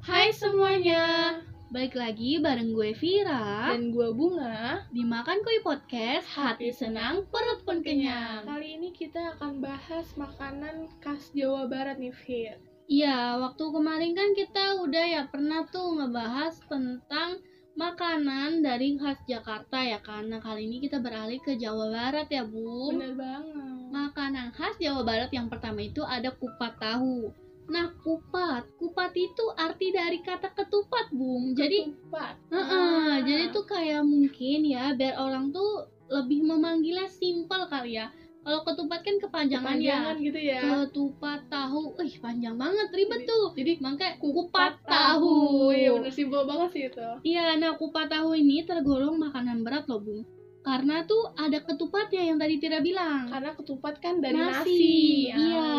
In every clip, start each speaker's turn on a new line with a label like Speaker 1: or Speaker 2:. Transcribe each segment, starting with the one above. Speaker 1: Hai semuanya,
Speaker 2: Baik lagi bareng gue Vira
Speaker 1: dan gua Bunga.
Speaker 2: di Makan Koi Podcast.
Speaker 1: Hati senang, perut pun kenyang.
Speaker 3: Kali ini kita akan bahas makanan khas Jawa Barat nih, Fit.
Speaker 2: Iya, waktu kemarin kan kita udah ya pernah tuh ngebahas tentang makanan dari khas Jakarta ya kan. Nah, kali ini kita beralih ke Jawa Barat ya, Bu.
Speaker 3: Bener banget.
Speaker 2: Makanan khas Jawa Barat yang pertama itu ada kupat tahu. Nah, kupat. Kupat itu arti dari kata ketupat, Bung. Jadi,
Speaker 3: Ketupat.
Speaker 2: Heeh,
Speaker 3: Ah.
Speaker 2: jadi tuh kayak mungkin ya biar orang tuh lebih memanggilnya simpel kali ya. Kalau ketupat kan kepanjangan
Speaker 3: Panjangan
Speaker 2: ya.
Speaker 3: gitu ya.
Speaker 2: Ketupat tahu, ih panjang banget ribet
Speaker 3: Jadi-
Speaker 2: tuh.
Speaker 3: Jadi
Speaker 2: Makanya kupat tahu.
Speaker 3: Iya, bener simpel banget sih itu.
Speaker 2: Iya, nah kupat tahu ini tergolong makanan berat loh, Bung. Karena tuh ada ketupatnya yang tadi tidak bilang.
Speaker 3: Karena ketupat kan dari
Speaker 2: Nasi,
Speaker 3: nasi.
Speaker 2: iya.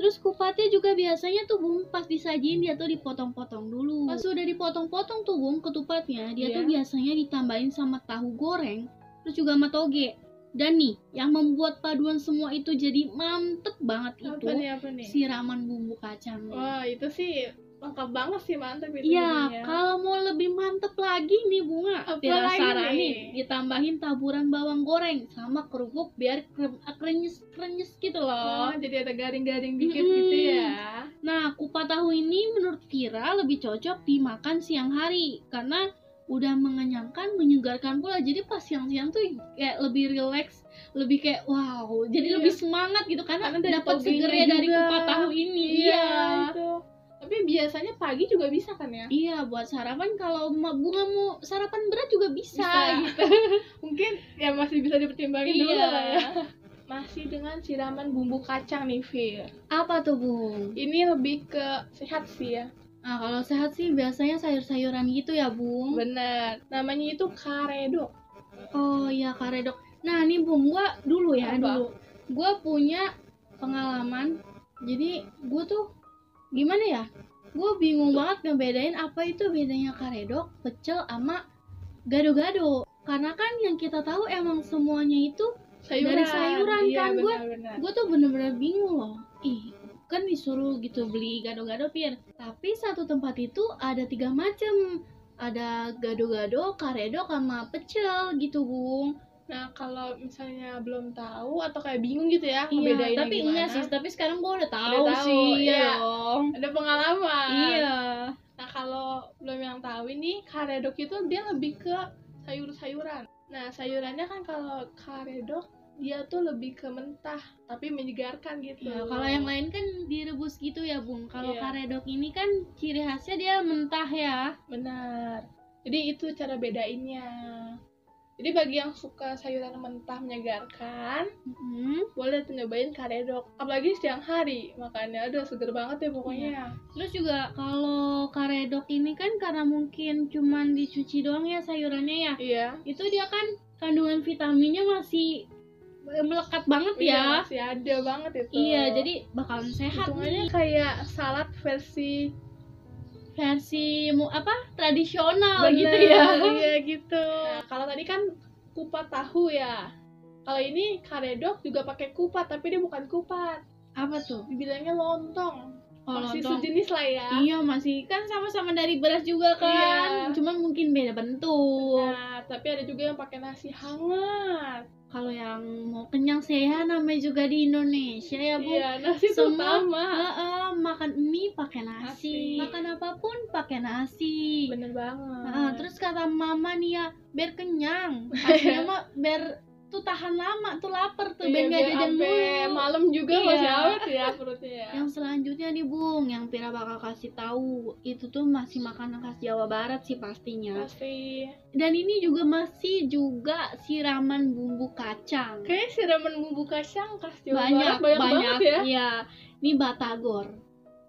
Speaker 2: Terus kupatnya juga biasanya tuh Bung pas disajiin dia tuh dipotong-potong dulu. Pas sudah dipotong-potong tuh Bung ketupatnya, dia
Speaker 3: Iya.
Speaker 2: tuh biasanya ditambahin sama tahu goreng, terus juga sama toge. Dan nih, yang membuat paduan semua itu jadi mantep banget
Speaker 3: Apa
Speaker 2: itu
Speaker 3: nih, apa nih?
Speaker 2: siraman bumbu kacangnya.
Speaker 3: Wah, itu sih lengkap banget sih, mantep itu.
Speaker 2: Iya,
Speaker 3: jadinya.
Speaker 2: kalau mau lebih mantep lagi nih bunga,
Speaker 3: Apa
Speaker 2: Tira
Speaker 3: lagi
Speaker 2: saranin,
Speaker 3: nih?
Speaker 2: ditambahin taburan bawang goreng sama kerupuk biar krem- eh, krenyes-krenyes gitu loh.
Speaker 3: Oh, jadi ada garing-garing dikit
Speaker 2: Mm-mm.
Speaker 3: gitu ya.
Speaker 2: Nah, kupat tahu ini menurut Vira lebih cocok dimakan siang hari karena udah mengenyangkan, menyegarkan pula. Jadi pas siang-siang tuh kayak lebih relax, lebih kayak wow, jadi
Speaker 3: Iya.
Speaker 2: lebih semangat gitu karena,
Speaker 3: Karena dari
Speaker 2: dapat
Speaker 3: togenya
Speaker 2: segernya dari
Speaker 3: juga. Iya.
Speaker 2: kupat tahu ini.
Speaker 3: itu. Tapi biasanya pagi juga bisa kan ya?
Speaker 2: Iya, buat sarapan kalau ma- bunga mau sarapan berat juga bisa.
Speaker 3: gitu. Mungkin ya masih bisa dipertimbangin dulu
Speaker 2: Iya.
Speaker 3: lah ya. Masih dengan siraman bumbu kacang nih, Fir.
Speaker 2: Apa tuh, Bung?
Speaker 3: Ini lebih ke sehat sih ya.
Speaker 2: Nah, kalau sehat sih biasanya sayur-sayuran gitu ya, Bung.
Speaker 3: Bener. Namanya itu karedok.
Speaker 2: Oh iya karedok. Nah ini bung gua dulu ya
Speaker 3: Apa?
Speaker 2: dulu. Gua punya pengalaman. Jadi gua tuh gimana ya? Gua bingung banget ngebedain apa itu bedanya karedok, pecel, sama gado-gado. Karena kan yang kita tahu emang semuanya itu,
Speaker 3: Sayuran.
Speaker 2: Dari sayuran
Speaker 3: iya,
Speaker 2: kan, gua-
Speaker 3: benar-benar.
Speaker 2: gua tuh bener-bener bingung loh. Ih, kan disuruh gitu beli gado-gado pir. Tapi satu tempat itu ada tiga macam. Ada gado-gado, karedok, sama pecel gitu bung.
Speaker 3: Nah, kalau misalnya belum tahu atau kayak bingung gitu ya,
Speaker 2: Iya,
Speaker 3: ngebedainnya
Speaker 2: tapi
Speaker 3: gimana?
Speaker 2: enggak sih, tapi sekarang gue udah tahu,
Speaker 3: tahu,
Speaker 2: sih. ya
Speaker 3: iya.
Speaker 2: dong.
Speaker 3: Ada pengalaman.
Speaker 2: Iya.
Speaker 3: Nah, kalau belum yang tahu ini karedok itu dia lebih ke sayur-sayuran. Nah, sayurannya kan kalau karedok dia tuh lebih ke mentah tapi menyegarkan gitu.
Speaker 2: Iya, kalau yang lain kan direbus gitu ya, Bung. Kalau
Speaker 3: Iya.
Speaker 2: karedok ini kan ciri khasnya dia mentah ya.
Speaker 3: benar. Jadi itu cara bedainnya. Jadi bagi yang suka sayuran mentah menyegarkan,
Speaker 2: Mm.
Speaker 3: boleh tuh nyobain karedok. Apalagi siang hari, makanya aduh seger banget ya pokoknya.
Speaker 2: Iya. Terus juga kalau karedok ini kan karena mungkin cuman dicuci doang ya sayurannya ya.
Speaker 3: Iya.
Speaker 2: Itu dia kan kandungan vitaminnya masih eh, melekat banget
Speaker 3: Iya,
Speaker 2: ya.
Speaker 3: masih ada banget itu.
Speaker 2: Iya, jadi bakalan sehat
Speaker 3: hitungannya
Speaker 2: nih
Speaker 3: kayak salad versi
Speaker 2: versi mu apa tradisional
Speaker 3: Bener,
Speaker 2: gitu ya.
Speaker 3: iya gitu Oh, nah kalau tadi kan kupat tahu ya kalau ini karedok juga pakai kupat tapi dia bukan kupat
Speaker 2: Apa tuh?
Speaker 3: dibilangnya lontong
Speaker 2: Kalau
Speaker 3: masih
Speaker 2: Oh, lontong.
Speaker 3: sejenis lah ya
Speaker 2: Iya masih kan sama-sama dari beras juga kan,
Speaker 3: Iya.
Speaker 2: cuman mungkin beda bentuk.
Speaker 3: nah tapi ada juga yang pakai nasi hangat
Speaker 2: Kalau yang mau kenyang sehat namanya juga di Indonesia ya bu.
Speaker 3: iya nasi
Speaker 2: Semua-
Speaker 3: terutama
Speaker 2: Heeh, makan mie pakai nasi.
Speaker 3: Nasi.
Speaker 2: makan apapun pakai nasi.
Speaker 3: bener banget
Speaker 2: Heeh, Ah, terus kata mama nih ya biar kenyang, pastinya mah biar tuh tahan lama tuh lapar tuh biar
Speaker 3: Iya,
Speaker 2: nggak
Speaker 3: biar
Speaker 2: jajan
Speaker 3: sampai
Speaker 2: mulu.
Speaker 3: malam juga masih
Speaker 2: Iya.
Speaker 3: awet ya perutnya ya
Speaker 2: Yang selanjutnya nih Bung, yang Pira bakal kasih tahu itu tuh masih makanan khas Jawa Barat sih pastinya.
Speaker 3: pasti
Speaker 2: Dan ini juga masih juga siraman bumbu kacang.
Speaker 3: kayaknya siraman bumbu kacang khas Jawa
Speaker 2: banyak,
Speaker 3: Barat banyak, banget ya
Speaker 2: Iya. Ini batagor.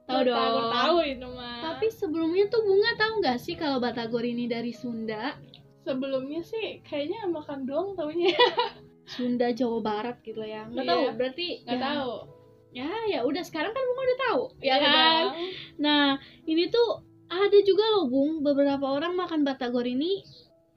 Speaker 2: Tahu dong.
Speaker 3: tahu itu mah
Speaker 2: Tapi sebelumnya tuh bunga tahu nggak sih kalau batagor ini dari Sunda,
Speaker 3: sebelumnya sih kayaknya makan doang taunya
Speaker 2: Sunda Jawa Barat gitu ya. Nggak
Speaker 3: Iya.
Speaker 2: tahu, berarti
Speaker 3: nggak
Speaker 2: ya,
Speaker 3: tahu
Speaker 2: Ya, ya udah sekarang kan bunga udah tahu, ya
Speaker 3: Iya
Speaker 2: kan?
Speaker 3: dong.
Speaker 2: Nah, ini tuh ada juga loh Bung, beberapa orang makan batagor ini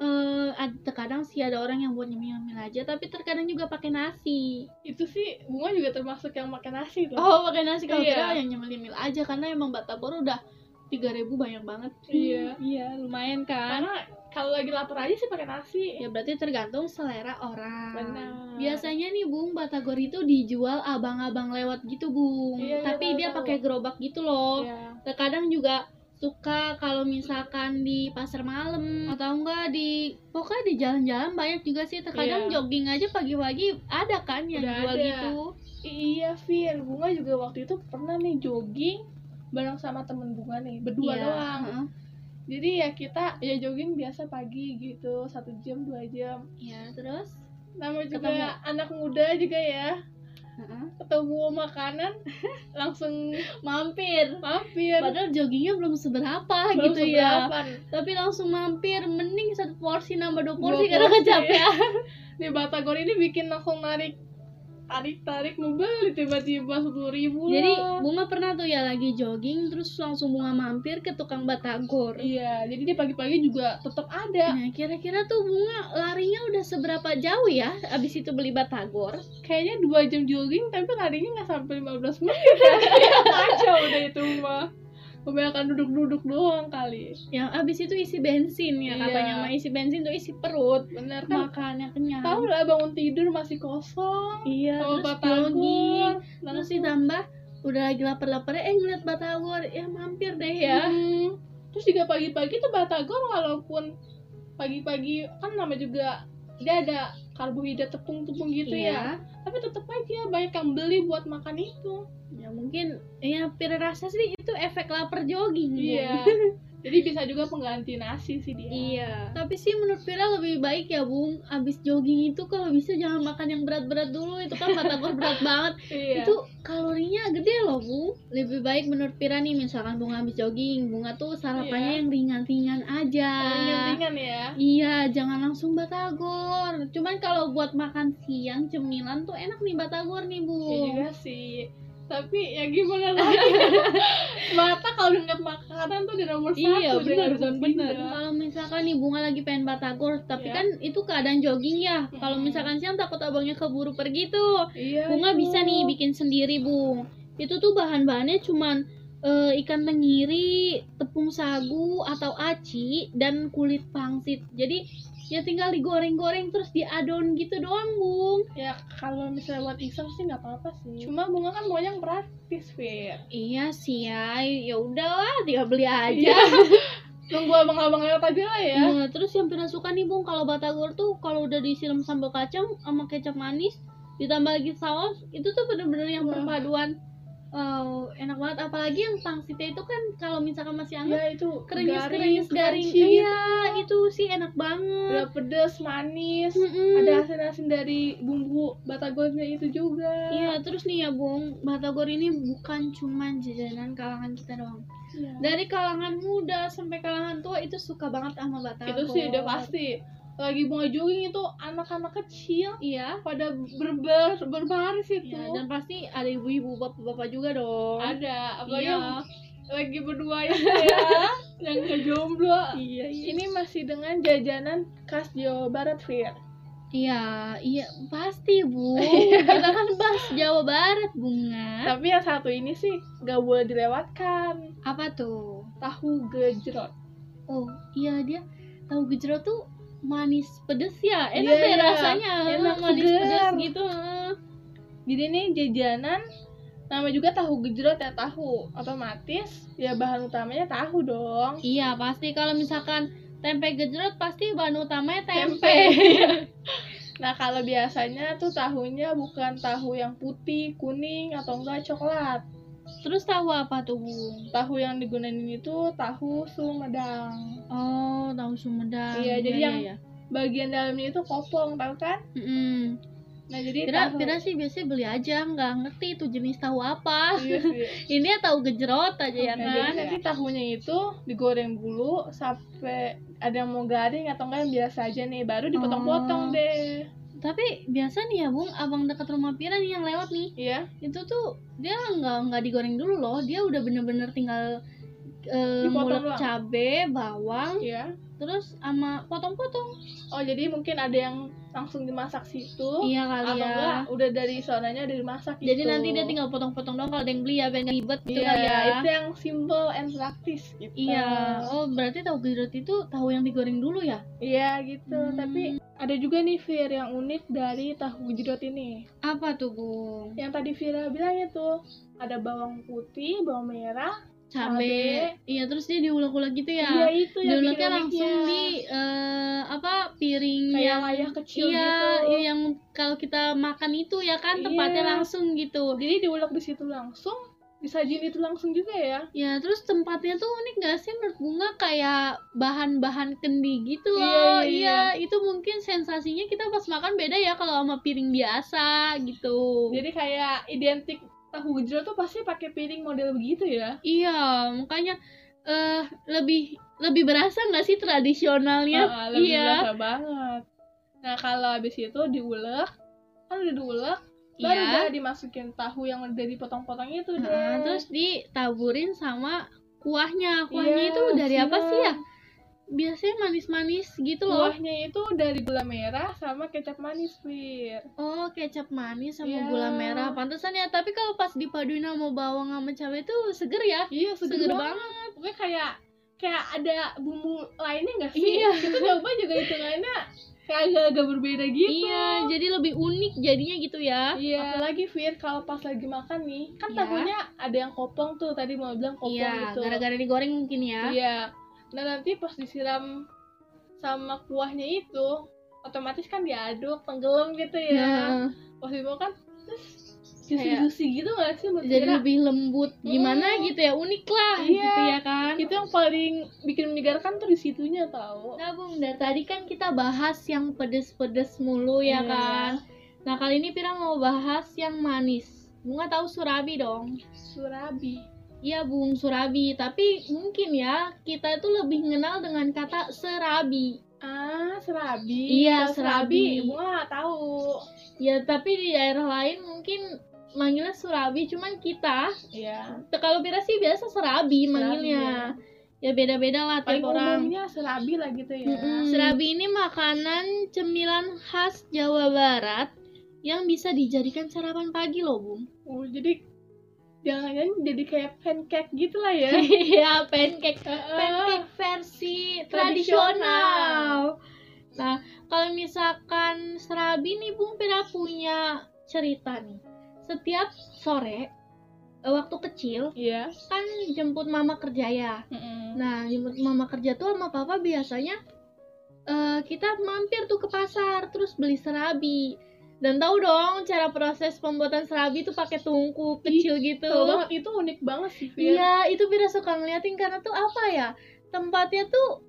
Speaker 2: eh ad- terkadang sih ada orang yang buat nyemil-nyemil aja, tapi terkadang juga pakai nasi.
Speaker 3: itu sih bunga juga termasuk yang makan nasi tuh
Speaker 2: Oh, pakai nasi kalau
Speaker 3: gitu. Iya.
Speaker 2: kira yang nyemil-nyemil aja karena emang batagor udah tiga ribu banyak banget
Speaker 3: Iya.
Speaker 2: iya lumayan kan
Speaker 3: Karena kalau lagi lapar aja sih pakai nasi.
Speaker 2: ya berarti tergantung selera orang
Speaker 3: Benar.
Speaker 2: Biasanya nih Bung, batagor itu dijual abang-abang lewat gitu Bung
Speaker 3: Iya, iya,
Speaker 2: Tapi
Speaker 3: tahu,
Speaker 2: dia
Speaker 3: tahu.
Speaker 2: pakai gerobak gitu loh
Speaker 3: Iya.
Speaker 2: terkadang juga suka kalau misalkan di pasar malam atau enggak di pokoknya di jalan-jalan banyak juga sih terkadang
Speaker 3: Iya.
Speaker 2: jogging aja pagi-pagi ada kan yang
Speaker 3: Udah
Speaker 2: jual
Speaker 3: ada.
Speaker 2: gitu
Speaker 3: Iya, Fir. Bunga juga waktu itu pernah nih jogging bareng sama temen bunga nih, berdua
Speaker 2: Iya,
Speaker 3: doang.
Speaker 2: heeh.
Speaker 3: Jadi ya kita ya jogging biasa pagi gitu, satu jam dua jam.
Speaker 2: Iya, terus
Speaker 3: Nama juga
Speaker 2: Ketemu.
Speaker 3: anak muda juga ya,
Speaker 2: heeh.
Speaker 3: ketemu makanan langsung
Speaker 2: mampir
Speaker 3: mampir.
Speaker 2: padahal joggingnya belum seberapa
Speaker 3: Belum
Speaker 2: gitu ya
Speaker 3: seberapan.
Speaker 2: tapi langsung mampir mending satu porsi nambah dua
Speaker 3: Dua
Speaker 2: porsi karena
Speaker 3: porsi. Iya.
Speaker 2: kecapean
Speaker 3: Di Batagor ini bikin langsung narik tarik tarik mau beli tiba-tiba sepuluh ribu
Speaker 2: jadi bunga pernah tuh ya lagi jogging terus langsung bunga mampir ke tukang batagor
Speaker 3: iya jadi dia pagi-pagi juga tetap ada
Speaker 2: Nah, kira-kira tuh bunga larinya udah seberapa jauh ya abis itu beli batagor?
Speaker 3: kayaknya dua jam jogging tapi larinya nggak sampai 15 menit kacau udah itu mah kebanyakan duduk-duduk doang kali
Speaker 2: Yang abis itu isi bensin ya
Speaker 3: Iya.
Speaker 2: katanya mah isi bensin tuh isi perut.
Speaker 3: bener kan
Speaker 2: Makannya kenyang.
Speaker 3: tahu lah bangun tidur masih kosong
Speaker 2: Iya,
Speaker 3: kalau
Speaker 2: terus
Speaker 3: batagor
Speaker 2: jogging. Terus ditambah udah lagi lapar-lapar eh ngeliat batagor ya mampir deh ya.
Speaker 3: Mm. terus juga pagi-pagi tuh batagor walaupun pagi-pagi kan nama juga dia ada karbohidrat tepung-tepung gitu
Speaker 2: Iya.
Speaker 3: ya tapi tetap aja banyak yang beli buat makan itu
Speaker 2: Ya mungkin ya pir rasa sih itu efek lapar jogging. Bu.
Speaker 3: iya jadi bisa juga pengganti nasi sih dia
Speaker 2: Iya. Tapi sih menurut Vira lebih baik ya Bung, abis jogging itu kalau bisa jangan makan yang berat-berat dulu, itu kan batagor berat banget.
Speaker 3: iya
Speaker 2: itu kalorinya gede loh bu lebih baik menurut Pira nih misalkan bunga habis jogging bunga tuh sarapannya
Speaker 3: Iya.
Speaker 2: yang ringan-ringan aja
Speaker 3: ringan ya
Speaker 2: iya jangan langsung batagor cuman kalau buat makan siang cemilan tuh enak nih batagor nih bu
Speaker 3: Iya juga sih. Tapi ya gimana lagi? Mata kalau ngeliat makanan tuh di nomor
Speaker 2: Iya,
Speaker 3: satu. dia nggak bisa pindah.
Speaker 2: kalau misalkan nih bunga lagi pengen batagor tapi
Speaker 3: Iya.
Speaker 2: kan itu keadaan jogging ya kalau
Speaker 3: Mm.
Speaker 2: misalkan siang takut abangnya keburu pergi tuh
Speaker 3: Iya.
Speaker 2: Bunga
Speaker 3: itu.
Speaker 2: bisa nih bikin sendiri, Bung. Itu tuh bahan-bahannya cuman eh, ikan tenggiri, tepung sagu atau aci dan kulit pangsit. Jadi ya tinggal digoreng-goreng terus diadon gitu doang, Bung.
Speaker 3: Ya kalau misalnya buat iseng sih nggak apa-apa sih. Cuma bunga kan mau yang praktis, Fir.
Speaker 2: Iya sih ya, ya udahlah, tinggal beli aja.
Speaker 3: Nunggu Iya. abang-abang lewat aja lah ya.
Speaker 2: Nah, terus yang pernah suka nih, Bung, kalau batagor tuh kalau udah disiram sambal kacang sama kecap manis ditambah lagi saus, itu tuh bener-bener yang
Speaker 3: Wah.
Speaker 2: perpaduan. Oh, enak banget apalagi yang pangsitnya itu kan kalau misalkan masih anget
Speaker 3: Ya itu
Speaker 2: keringis
Speaker 3: garing,
Speaker 2: keringis garing
Speaker 3: crunchy
Speaker 2: iya itu sih enak
Speaker 3: gitu.
Speaker 2: banget
Speaker 3: Udah pedes, manis.
Speaker 2: Mm-mm.
Speaker 3: Ada asin-asin dari bumbu batagornya itu juga.
Speaker 2: iya terus nih ya bung batagor ini bukan cuman jajanan kalangan kita doang
Speaker 3: Iya.
Speaker 2: dari kalangan muda sampai kalangan tua itu suka banget sama batagor
Speaker 3: Itu Gitu sih udah pasti. Lagi bunga jogging itu anak-anak kecil
Speaker 2: iya
Speaker 3: pada berber berbaris itu
Speaker 2: Iya, dan pasti ada ibu-ibu bapak-bapak juga dong
Speaker 3: ada apalagi
Speaker 2: iya
Speaker 3: lagi berdua ya yang ngejomblo
Speaker 2: iya iya
Speaker 3: ini masih dengan jajanan khas Jawa Barat Fir
Speaker 2: iya iya pasti bung kita kan bahas Jawa Barat bunga
Speaker 3: tapi yang satu ini sih gak boleh dilewatkan
Speaker 2: apa tuh
Speaker 3: tahu gejrot
Speaker 2: oh iya dia tahu gejrot tuh manis pedes ya enak
Speaker 3: Iya,
Speaker 2: deh
Speaker 3: iya.
Speaker 2: rasanya
Speaker 3: Enak,
Speaker 2: manis
Speaker 3: seger.
Speaker 2: pedes gitu heeh.
Speaker 3: jadi ini jajanan nama juga tahu gejrot ya tahu otomatis ya bahan utamanya tahu dong
Speaker 2: iya pasti kalau misalkan tempe gejrot pasti bahan utamanya tempe,
Speaker 3: nah kalau biasanya tuh tahunya bukan tahu yang putih kuning atau enggak coklat
Speaker 2: terus tahu apa tuh bung
Speaker 3: tahu yang digunain itu tahu sumedang
Speaker 2: oh tahu sumedang
Speaker 3: Iya, jadi yang-
Speaker 2: iya.
Speaker 3: bagian dalamnya itu kopong tahu kan
Speaker 2: Mm-mm.
Speaker 3: nah jadi
Speaker 2: Pira,
Speaker 3: tahu
Speaker 2: Pira sih biasanya beli aja nggak ngerti itu jenis tahu apa
Speaker 3: Iya sih.
Speaker 2: ini ya tahu gejrot aja ya
Speaker 3: Nah, jadi
Speaker 2: kan
Speaker 3: nanti tahunya itu digoreng dulu sampai ada yang mau garing atau enggak yang biasa aja nih baru
Speaker 2: Oh.
Speaker 3: dipotong-potong deh
Speaker 2: tapi biasa nih ya bung abang dekat rumah Pira nih yang lewat nih
Speaker 3: iya
Speaker 2: itu tuh dia nggak nggak digoreng dulu loh dia udah bener-bener tinggal eh,
Speaker 3: Dipotong
Speaker 2: mulek
Speaker 3: doang.
Speaker 2: cabe, bawang,
Speaker 3: Iya.
Speaker 2: terus sama potong-potong.
Speaker 3: Oh jadi mungkin ada yang langsung dimasak situ.
Speaker 2: Iya kali
Speaker 3: Atau
Speaker 2: ya.
Speaker 3: enggak udah dari sonanya udah dimasak
Speaker 2: Jadi
Speaker 3: gitu.
Speaker 2: nanti dia tinggal potong-potong doang kalau ada yang beli ya biar nggak ribet gitu
Speaker 3: Iya,
Speaker 2: kali ya.
Speaker 3: itu yang simple and praktis gitu.
Speaker 2: Iya. Oh, berarti tahu gidret itu tahu yang digoreng dulu ya?
Speaker 3: Iya gitu,
Speaker 2: Hmm.
Speaker 3: tapi ada juga nih Fir yang unik dari tahu gejrot ini.
Speaker 2: Apa tuh, Bung?
Speaker 3: Yang tadi Vira bilang itu ada bawang putih, bawang merah.
Speaker 2: Cabe. Iya, terus dia diulek-ulek gitu ya.
Speaker 3: Iya itu yang
Speaker 2: diuleknya
Speaker 3: bikin
Speaker 2: langsung
Speaker 3: uniknya.
Speaker 2: di eh, apa piring
Speaker 3: kayak
Speaker 2: yang
Speaker 3: layah kecil
Speaker 2: iya
Speaker 3: gitu.
Speaker 2: iya, yang kalau kita makan itu ya kan tempatnya
Speaker 3: Iya.
Speaker 2: langsung gitu
Speaker 3: Jadi diulek di situ langsung, disajin itu langsung juga ya.
Speaker 2: ya terus tempatnya tuh unik gak sih menurut bunga kayak bahan-bahan kendi gitu
Speaker 3: Iya,
Speaker 2: loh
Speaker 3: iya,
Speaker 2: itu mungkin sensasinya kita pas makan beda ya kalau sama piring biasa gitu
Speaker 3: Jadi kayak identik tahu gejrot tuh pasti pakai piring model begitu ya.
Speaker 2: iya makanya eh lebih lebih berasa nggak sih tradisionalnya
Speaker 3: Ah, lebih
Speaker 2: iya
Speaker 3: berasa banget. Nah, kalau habis itu diulek, kan udah diulek, baru
Speaker 2: Iya.
Speaker 3: udah dimasukin tahu yang udah dipotong-potong itu deh.
Speaker 2: Heeh, terus ditaburin sama kuahnya. Kuahnya
Speaker 3: Iya,
Speaker 2: itu dari apa
Speaker 3: siap.
Speaker 2: sih ya? Biasanya manis-manis gitu loh.
Speaker 3: Kuahnya itu dari gula merah sama kecap manis, Fir.
Speaker 2: Oh, kecap manis sama
Speaker 3: Iya.
Speaker 2: gula merah. Pantesan ya, tapi kalau pas dipaduin sama bawang sama cabai itu seger ya.
Speaker 3: Iya,
Speaker 2: Seger,
Speaker 3: seger, banget.
Speaker 2: banget.
Speaker 3: Pokoknya kayak kayak ada bumbu lainnya nggak sih?
Speaker 2: Iya.
Speaker 3: Kita coba juga hitungannya kayak agak-agak berbeda gitu.
Speaker 2: Iya, jadi lebih unik jadinya gitu ya.
Speaker 3: Iya. Apalagi Fir kalau pas lagi makan nih, kan
Speaker 2: Iya.
Speaker 3: tahunya ada yang kopong tuh tadi mau bilang kopong
Speaker 2: Iya,
Speaker 3: gitu.
Speaker 2: gara-gara digoreng mungkin ya.
Speaker 3: Iya. Nah nanti pas disiram sama kuahnya itu, otomatis kan diaduk, tenggelam gitu ya.
Speaker 2: Nah,
Speaker 3: Pas dibawa kan terus
Speaker 2: Kayak-
Speaker 3: juicy-juicy gitu gak sih menurut
Speaker 2: jadi
Speaker 3: Vira?
Speaker 2: lebih lembut gimana
Speaker 3: Hmm.
Speaker 2: gitu ya. Unik lah
Speaker 3: Iya.
Speaker 2: gitu ya kan.
Speaker 3: Itu yang paling bikin menyegarkan tuh disitunya tau.
Speaker 2: Nah Bung, dari tadi kan kita bahas yang pedes-pedes mulu ya
Speaker 3: Iya.
Speaker 2: kan Nah kali ini Pira mau bahas yang manis Bunga tahu surabi dong
Speaker 3: Surabi.
Speaker 2: Iya Bung, surabi Tapi mungkin ya, kita itu lebih kenal dengan kata serabi
Speaker 3: Ah, serabi.
Speaker 2: Iya,
Speaker 3: Kalau serabi.
Speaker 2: serabi.
Speaker 3: Bunga gak tahu.
Speaker 2: Ya tapi di daerah lain mungkin manggilnya surabi Cuman kita,
Speaker 3: Iya.
Speaker 2: te- kalau Pira sih biasa serabi manggilnya Ya beda-beda lah
Speaker 3: Paling
Speaker 2: tiap orang
Speaker 3: umumnya serabi lah gitu ya.
Speaker 2: Mm-mm. Serabi ini makanan cemilan khas Jawa Barat yang bisa dijadikan sarapan pagi loh, Bung.
Speaker 3: Oh, jadi jangan-jangan jadi kayak pancake gitu lah ya.
Speaker 2: Iya, pancake.
Speaker 3: Heeh.
Speaker 2: Pancake versi tradisional.
Speaker 3: Tradisional.
Speaker 2: Nah, kalau misalkan serabi nih, Bung Pira punya cerita nih. Setiap sore eh, waktu kecil
Speaker 3: Iya.
Speaker 2: kan jemput mama kerja ya.
Speaker 3: Mm-mm.
Speaker 2: Nah, jemput mama kerja tuh sama papa biasanya eh, kita mampir tuh ke pasar terus beli serabi. Dan tahu dong cara proses pembuatan serabi tuh pakai tungku kecil gitu.
Speaker 3: Seru banget itu unik banget sih Fir.
Speaker 2: Iya, itu Bira suka ngeliatin karena tuh apa ya? Tempatnya tuh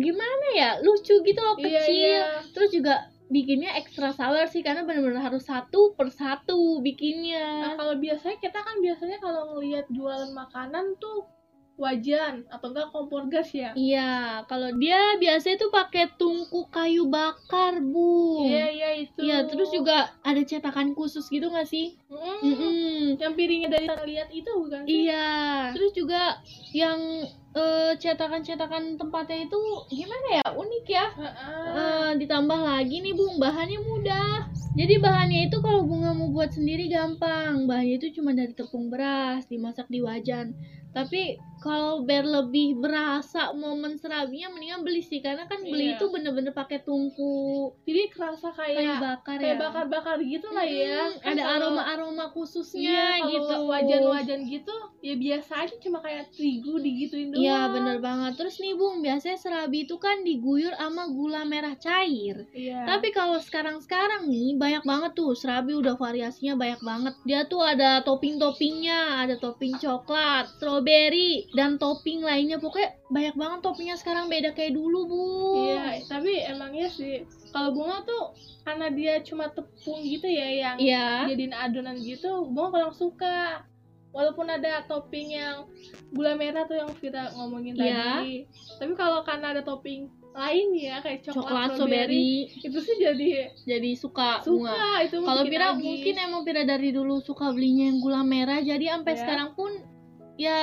Speaker 2: gimana ya? Lucu gitu loh,
Speaker 3: Iya,
Speaker 2: kecil.
Speaker 3: iya.
Speaker 2: Terus juga bikinnya ekstra sabar sih karena bener-bener harus satu per satu
Speaker 3: Nah,
Speaker 2: bikinnya.
Speaker 3: kalau biasanya kita kan biasanya kalau ngelihat jualan makanan tuh wajan atau enggak kompor gas ya.
Speaker 2: Iya, kalau dia biasanya tuh pakai tungku kayu bakar, Bu.
Speaker 3: Iya iya itu.
Speaker 2: Iya, terus juga ada cetakan khusus gitu gak sih?
Speaker 3: Mm-mm.
Speaker 2: Mm-mm.
Speaker 3: yang piringnya dari tanah liat itu bukan sih?
Speaker 2: Iya. Terus juga yang eh, cetakan-cetakan tempatnya itu gimana ya? Unik ya.
Speaker 3: Heeh.
Speaker 2: Eh, ditambah lagi nih, Bung, bahannya mudah. Jadi bahannya itu kalau Bunga mau buat sendiri gampang. Bahannya itu cuma dari tepung beras, dimasak di wajan. Tapi kalau biar lebih berasa momen serabinya mendingan beli sih karena kan beli
Speaker 3: Iya.
Speaker 2: itu bener-bener pakai tungku
Speaker 3: Jadi kerasa
Speaker 2: kayu
Speaker 3: kayak
Speaker 2: bakar
Speaker 3: kayak
Speaker 2: ya.
Speaker 3: bakar-bakar gitu lah ya.
Speaker 2: Mm,
Speaker 3: Kan
Speaker 2: ada
Speaker 3: kalau-
Speaker 2: aroma-aroma
Speaker 3: Iya,
Speaker 2: khususnya
Speaker 3: kalau
Speaker 2: gitu.
Speaker 3: wajan-wajan gitu ya biasa aja cuma kayak terigu digituin doang.
Speaker 2: Iya, bener banget. Terus nih, Bung, biasanya serabi itu kan diguyur sama gula merah cair.
Speaker 3: Iya.
Speaker 2: Tapi kalau sekarang-sekarang nih, banyak banget tuh serabi udah variasinya banyak banget. Dia tuh ada topping-toppingnya, ada topping coklat, strawberry, dan topping lainnya. Pokoknya banyak banget toppingnya sekarang beda kayak dulu, Bung.
Speaker 3: Iya, tapi emangnya sih kalau bunga tuh karena dia cuma tepung gitu ya yang
Speaker 2: Iya.
Speaker 3: jadiin adonan gitu, bunga kurang suka. Walaupun ada topping yang gula merah tuh yang kita ngomongin
Speaker 2: Iya.
Speaker 3: tadi, tapi kalau karena ada topping lain ya kayak coklat,
Speaker 2: Coklat,
Speaker 3: strawberry,
Speaker 2: strawberry.
Speaker 3: itu sih jadi
Speaker 2: Jadi suka, bunga.
Speaker 3: suka itu
Speaker 2: Kalau
Speaker 3: bikin
Speaker 2: Pira
Speaker 3: lagi. Iya.
Speaker 2: mungkin emang Pira dari dulu suka belinya yang gula merah jadi sampai
Speaker 3: Ya.
Speaker 2: sekarang pun ya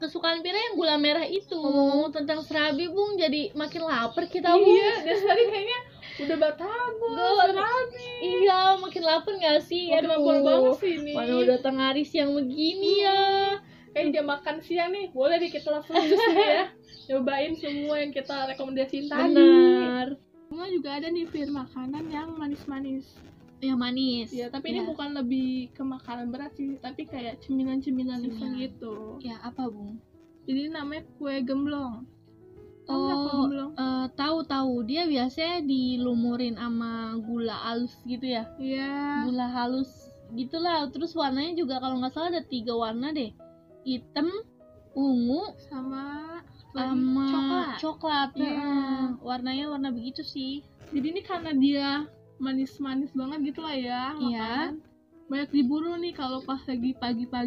Speaker 2: kesukaan Pira yang gula merah itu. Ngomong-ngomong tentang serabi, Bung, jadi makin lapar kita, Bung.
Speaker 3: Oh. iya dari tadi kayaknya udah batagor
Speaker 2: Gua-
Speaker 3: serabi
Speaker 2: Iya, makin lapar gak sih?
Speaker 3: makin lapar banget sih ini Iya.
Speaker 2: Mana udah tengah hari siang begini ya.
Speaker 3: kayak jam makan siang nih boleh deh kita langsung sus nih ya cobain semua yang kita
Speaker 2: Hmm,
Speaker 3: rekomendasiin tadi
Speaker 2: Benar.
Speaker 3: Cuma juga ada nih pilihan makanan yang manis-manis
Speaker 2: Ya manis.
Speaker 3: ya tapi
Speaker 2: Ya.
Speaker 3: ini bukan lebih ke makanan berat sih tapi kayak cemilan-cemilan
Speaker 2: Cemilan.
Speaker 3: iseng gitu
Speaker 2: Ya apa, Bung?
Speaker 3: jadi namanya kue gemblong Tahu nggak kue
Speaker 2: Oh,
Speaker 3: gemblong
Speaker 2: eh, tahu-tahu dia biasanya dilumurin sama gula halus gitu ya.
Speaker 3: iya
Speaker 2: gula halus gitulah terus warnanya juga kalau nggak salah ada tiga warna deh hitam ungu
Speaker 3: sama
Speaker 2: sama
Speaker 3: coklat.
Speaker 2: coklat
Speaker 3: Iya.
Speaker 2: Heeh. warnanya warna begitu sih
Speaker 3: jadi ini karena dia manis-manis banget gitu lah ya
Speaker 2: Iya.
Speaker 3: makanan. banyak diburu nih kalau pas lagi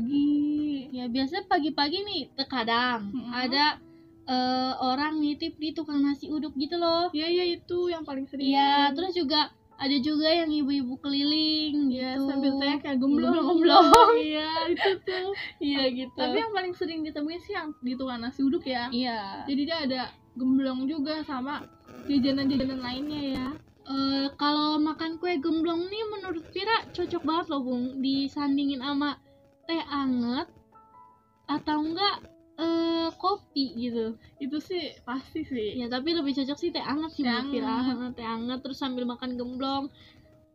Speaker 3: pagi-pagi
Speaker 2: ya biasanya pagi-pagi nih terkadang
Speaker 3: Mm-mm.
Speaker 2: ada eh, orang nitip di tukang nasi uduk gitu loh
Speaker 3: Iya iya itu yang paling sering.
Speaker 2: iya terus juga ada juga yang ibu-ibu keliling
Speaker 3: Iya,
Speaker 2: gitu
Speaker 3: sambil teriak ya gemblong
Speaker 2: Gemblong,
Speaker 3: Iya itu tuh.
Speaker 2: iya gitu
Speaker 3: Tapi yang paling sering ditemuin sih yang di tukang nasi uduk ya.
Speaker 2: iya
Speaker 3: Jadi dia ada gemblong juga sama jajanan-jajanan lainnya ya.
Speaker 2: Eh, kalau makan kue gemblong nih menurut Vira cocok banget loh Bung disandingin sama teh anget atau enggak eh kopi gitu
Speaker 3: Itu sih pasti sih.
Speaker 2: ya tapi lebih cocok sih teh anget sih
Speaker 3: Teh
Speaker 2: menurut Vira
Speaker 3: anget.
Speaker 2: Heeh, teh anget terus sambil makan gemblong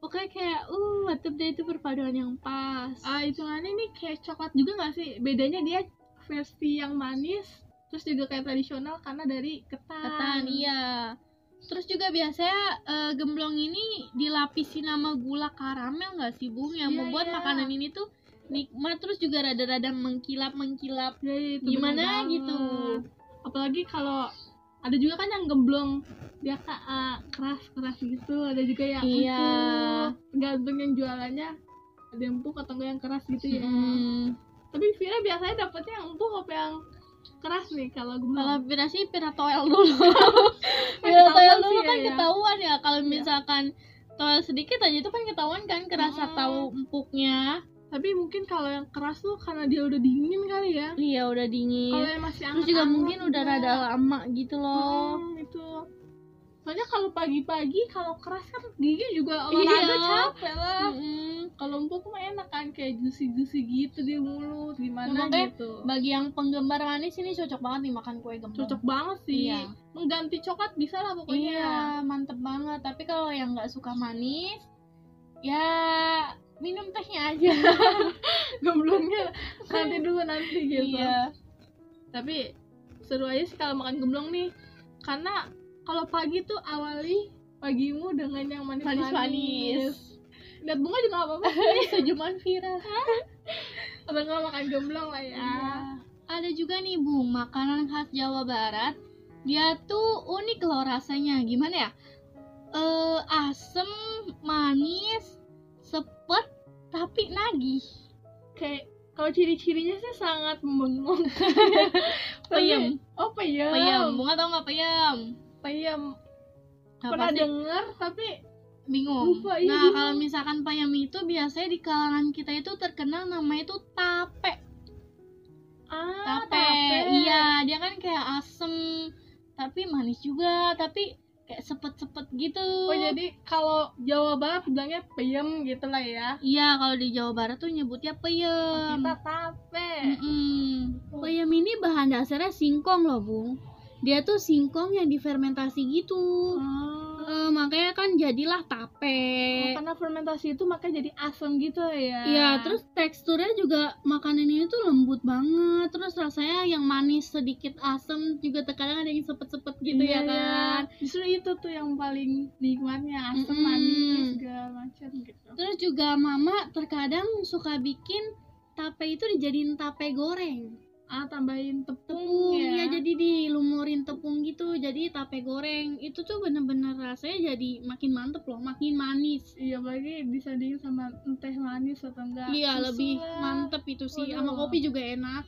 Speaker 2: pokoknya kayak uh atau dia itu perpaduan yang pas
Speaker 3: Ah hitungannya ini kayak coklat juga nggak sih? Bedanya dia versi yang manis terus juga kayak tradisional karena dari ketan.
Speaker 2: ketan iya terus juga biasanya eh, gemblong ini dilapisin sama gula karamel nggak sih Bung yang
Speaker 3: Iya,
Speaker 2: membuat
Speaker 3: iya.
Speaker 2: makanan ini tuh nikmat terus juga rada-rada mengkilap mengkilap
Speaker 3: Ya, itu bener
Speaker 2: gimana
Speaker 3: banget.
Speaker 2: gitu
Speaker 3: apalagi kalau ada juga kan yang gemblong dia ka- eh, keras-keras gitu ada juga yang
Speaker 2: Iya.
Speaker 3: empuk gantung yang jualannya ada yang empuk atau enggak yang keras gitu ya
Speaker 2: Hmm.
Speaker 3: tapi Vira biasanya dapetnya yang empuk apa yang keras nih
Speaker 2: kalau
Speaker 3: kalau gemblong
Speaker 2: Vira sih Vira toel dulu Vira
Speaker 3: ketahuan
Speaker 2: toel dulu
Speaker 3: Hmm. sih
Speaker 2: kan
Speaker 3: ya, ya.
Speaker 2: ketahuan ya kalau misalkan toel sedikit aja itu kan ketahuan kan kerasa
Speaker 3: Mm.
Speaker 2: tahu empuknya
Speaker 3: tapi mungkin kalau yang keras tuh karena dia udah dingin kali ya
Speaker 2: iya udah
Speaker 3: kalau
Speaker 2: dingin
Speaker 3: yang Hmm. masih anget
Speaker 2: terus juga mungkin udah rada lama gitu loh
Speaker 3: itu gitu. soalnya kalau pagi-pagi kalau keras kan gigi juga olahraga
Speaker 2: Iya.
Speaker 3: capek lah
Speaker 2: Mm-mm.
Speaker 3: kalau empuk mah enak kan kayak juicy juicy gitu di mulut
Speaker 2: Nah,
Speaker 3: gimana
Speaker 2: makanya
Speaker 3: gitu
Speaker 2: bagi yang penggemar manis ini cocok banget nih makan kue gemblong
Speaker 3: cocok banget sih
Speaker 2: Iya.
Speaker 3: mengganti coklat bisa lah pokoknya
Speaker 2: Iya, mantep banget. Tapi kalau yang nggak suka manis, ya minum tehnya aja.
Speaker 3: gemblongnya nanti dulu nanti gitu
Speaker 2: Iya.
Speaker 3: tapi seru aja sih kalau makan gemblong nih karena kalau pagi tuh awali pagimu dengan yang manis-manis
Speaker 2: Manis-manis.
Speaker 3: lihat bunga juga gak apa-apa
Speaker 2: Sejuman viral.
Speaker 3: kalau nggak makan gemblong lah ya
Speaker 2: Iya. Ada juga nih, Bung, makanan khas Jawa Barat. Dia tuh unik loh rasanya. Gimana ya? Eh, asem, manis, sepet, tapi nagih.
Speaker 3: kayak kalau ciri-cirinya sih sangat membengong
Speaker 2: Peyem.
Speaker 3: oh peyem
Speaker 2: Peyem, bunga tau nggak peyem?
Speaker 3: peyem
Speaker 2: Apa
Speaker 3: pernah
Speaker 2: sih?
Speaker 3: denger tapi
Speaker 2: bingung.
Speaker 3: Lupa, iya,
Speaker 2: nah,
Speaker 3: bingung.
Speaker 2: kalau misalkan payam itu biasanya di kalangan kita itu terkenal namanya itu tape.
Speaker 3: ah
Speaker 2: Tape. Iya, dia kan kayak asem tapi manis juga, tapi kayak sepet-sepet gitu.
Speaker 3: oh jadi kalau Jawa Barat bilangnya peyem gitu lah ya
Speaker 2: Iya, kalau di Jawa Barat tuh nyebutnya peyem. Hmm.
Speaker 3: kita tape
Speaker 2: Mm-mm.
Speaker 3: Oh.
Speaker 2: Peyem ini bahan dasarnya singkong loh, Bung. Dia tuh singkong yang difermentasi gitu.
Speaker 3: Oh.
Speaker 2: Eh, makanya kan jadilah tape.
Speaker 3: oh, karena fermentasi itu makanya jadi asam gitu ya
Speaker 2: Iya, terus teksturnya juga makanan ini tuh lembut banget. Terus rasanya yang manis sedikit asem juga terkadang ada yang sepet-sepet gitu ya
Speaker 3: Iya, iya.
Speaker 2: kan.
Speaker 3: justru itu tuh yang paling nikmatnya asam
Speaker 2: Mm-mm.
Speaker 3: manis segala macam gitu
Speaker 2: Terus juga mama terkadang suka bikin tape itu dijadiin tape goreng.
Speaker 3: ah tambahin tepung,
Speaker 2: Tepung
Speaker 3: ya,
Speaker 2: ya. jadi dilumurin tepung gitu. Jadi tape goreng itu tuh bener-bener rasanya jadi makin mantep loh, makin manis.
Speaker 3: iya bagi disandingin sama teh manis atau enggak
Speaker 2: Iya,
Speaker 3: susu
Speaker 2: lebih
Speaker 3: lah.
Speaker 2: mantep itu sih.
Speaker 3: Waduh.
Speaker 2: Sama kopi juga enak.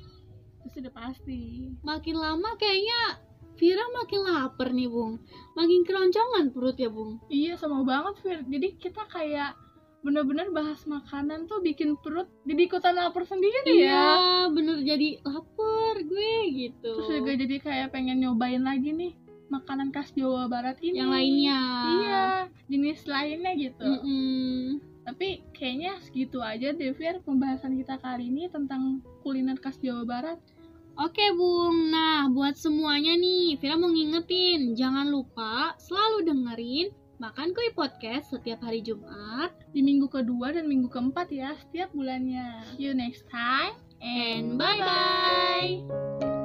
Speaker 3: itu sudah pasti
Speaker 2: makin lama kayaknya Vira makin lapar nih, Bung. Makin keroncongan perut ya, Bung.
Speaker 3: Iya sama banget Fir. Jadi kita kayak bener-bener bahas makanan tuh bikin perut jadi ikutan lapar sendiri
Speaker 2: Iya,
Speaker 3: ya
Speaker 2: bener jadi lapar gue gitu.
Speaker 3: terus juga jadi kayak pengen nyobain lagi nih makanan khas Jawa Barat ini
Speaker 2: yang lainnya.
Speaker 3: iya jenis lainnya gitu
Speaker 2: Mm-mm.
Speaker 3: tapi kayaknya segitu aja deh Fir pembahasan kita kali ini tentang kuliner khas Jawa Barat
Speaker 2: Oke Bung, nah buat semuanya nih, Vira mau ngingetin, jangan lupa selalu dengerin Makan Kue Podcast setiap hari Jumat
Speaker 3: di minggu kedua dan minggu keempat ya setiap bulannya see you next time
Speaker 2: and bye-bye!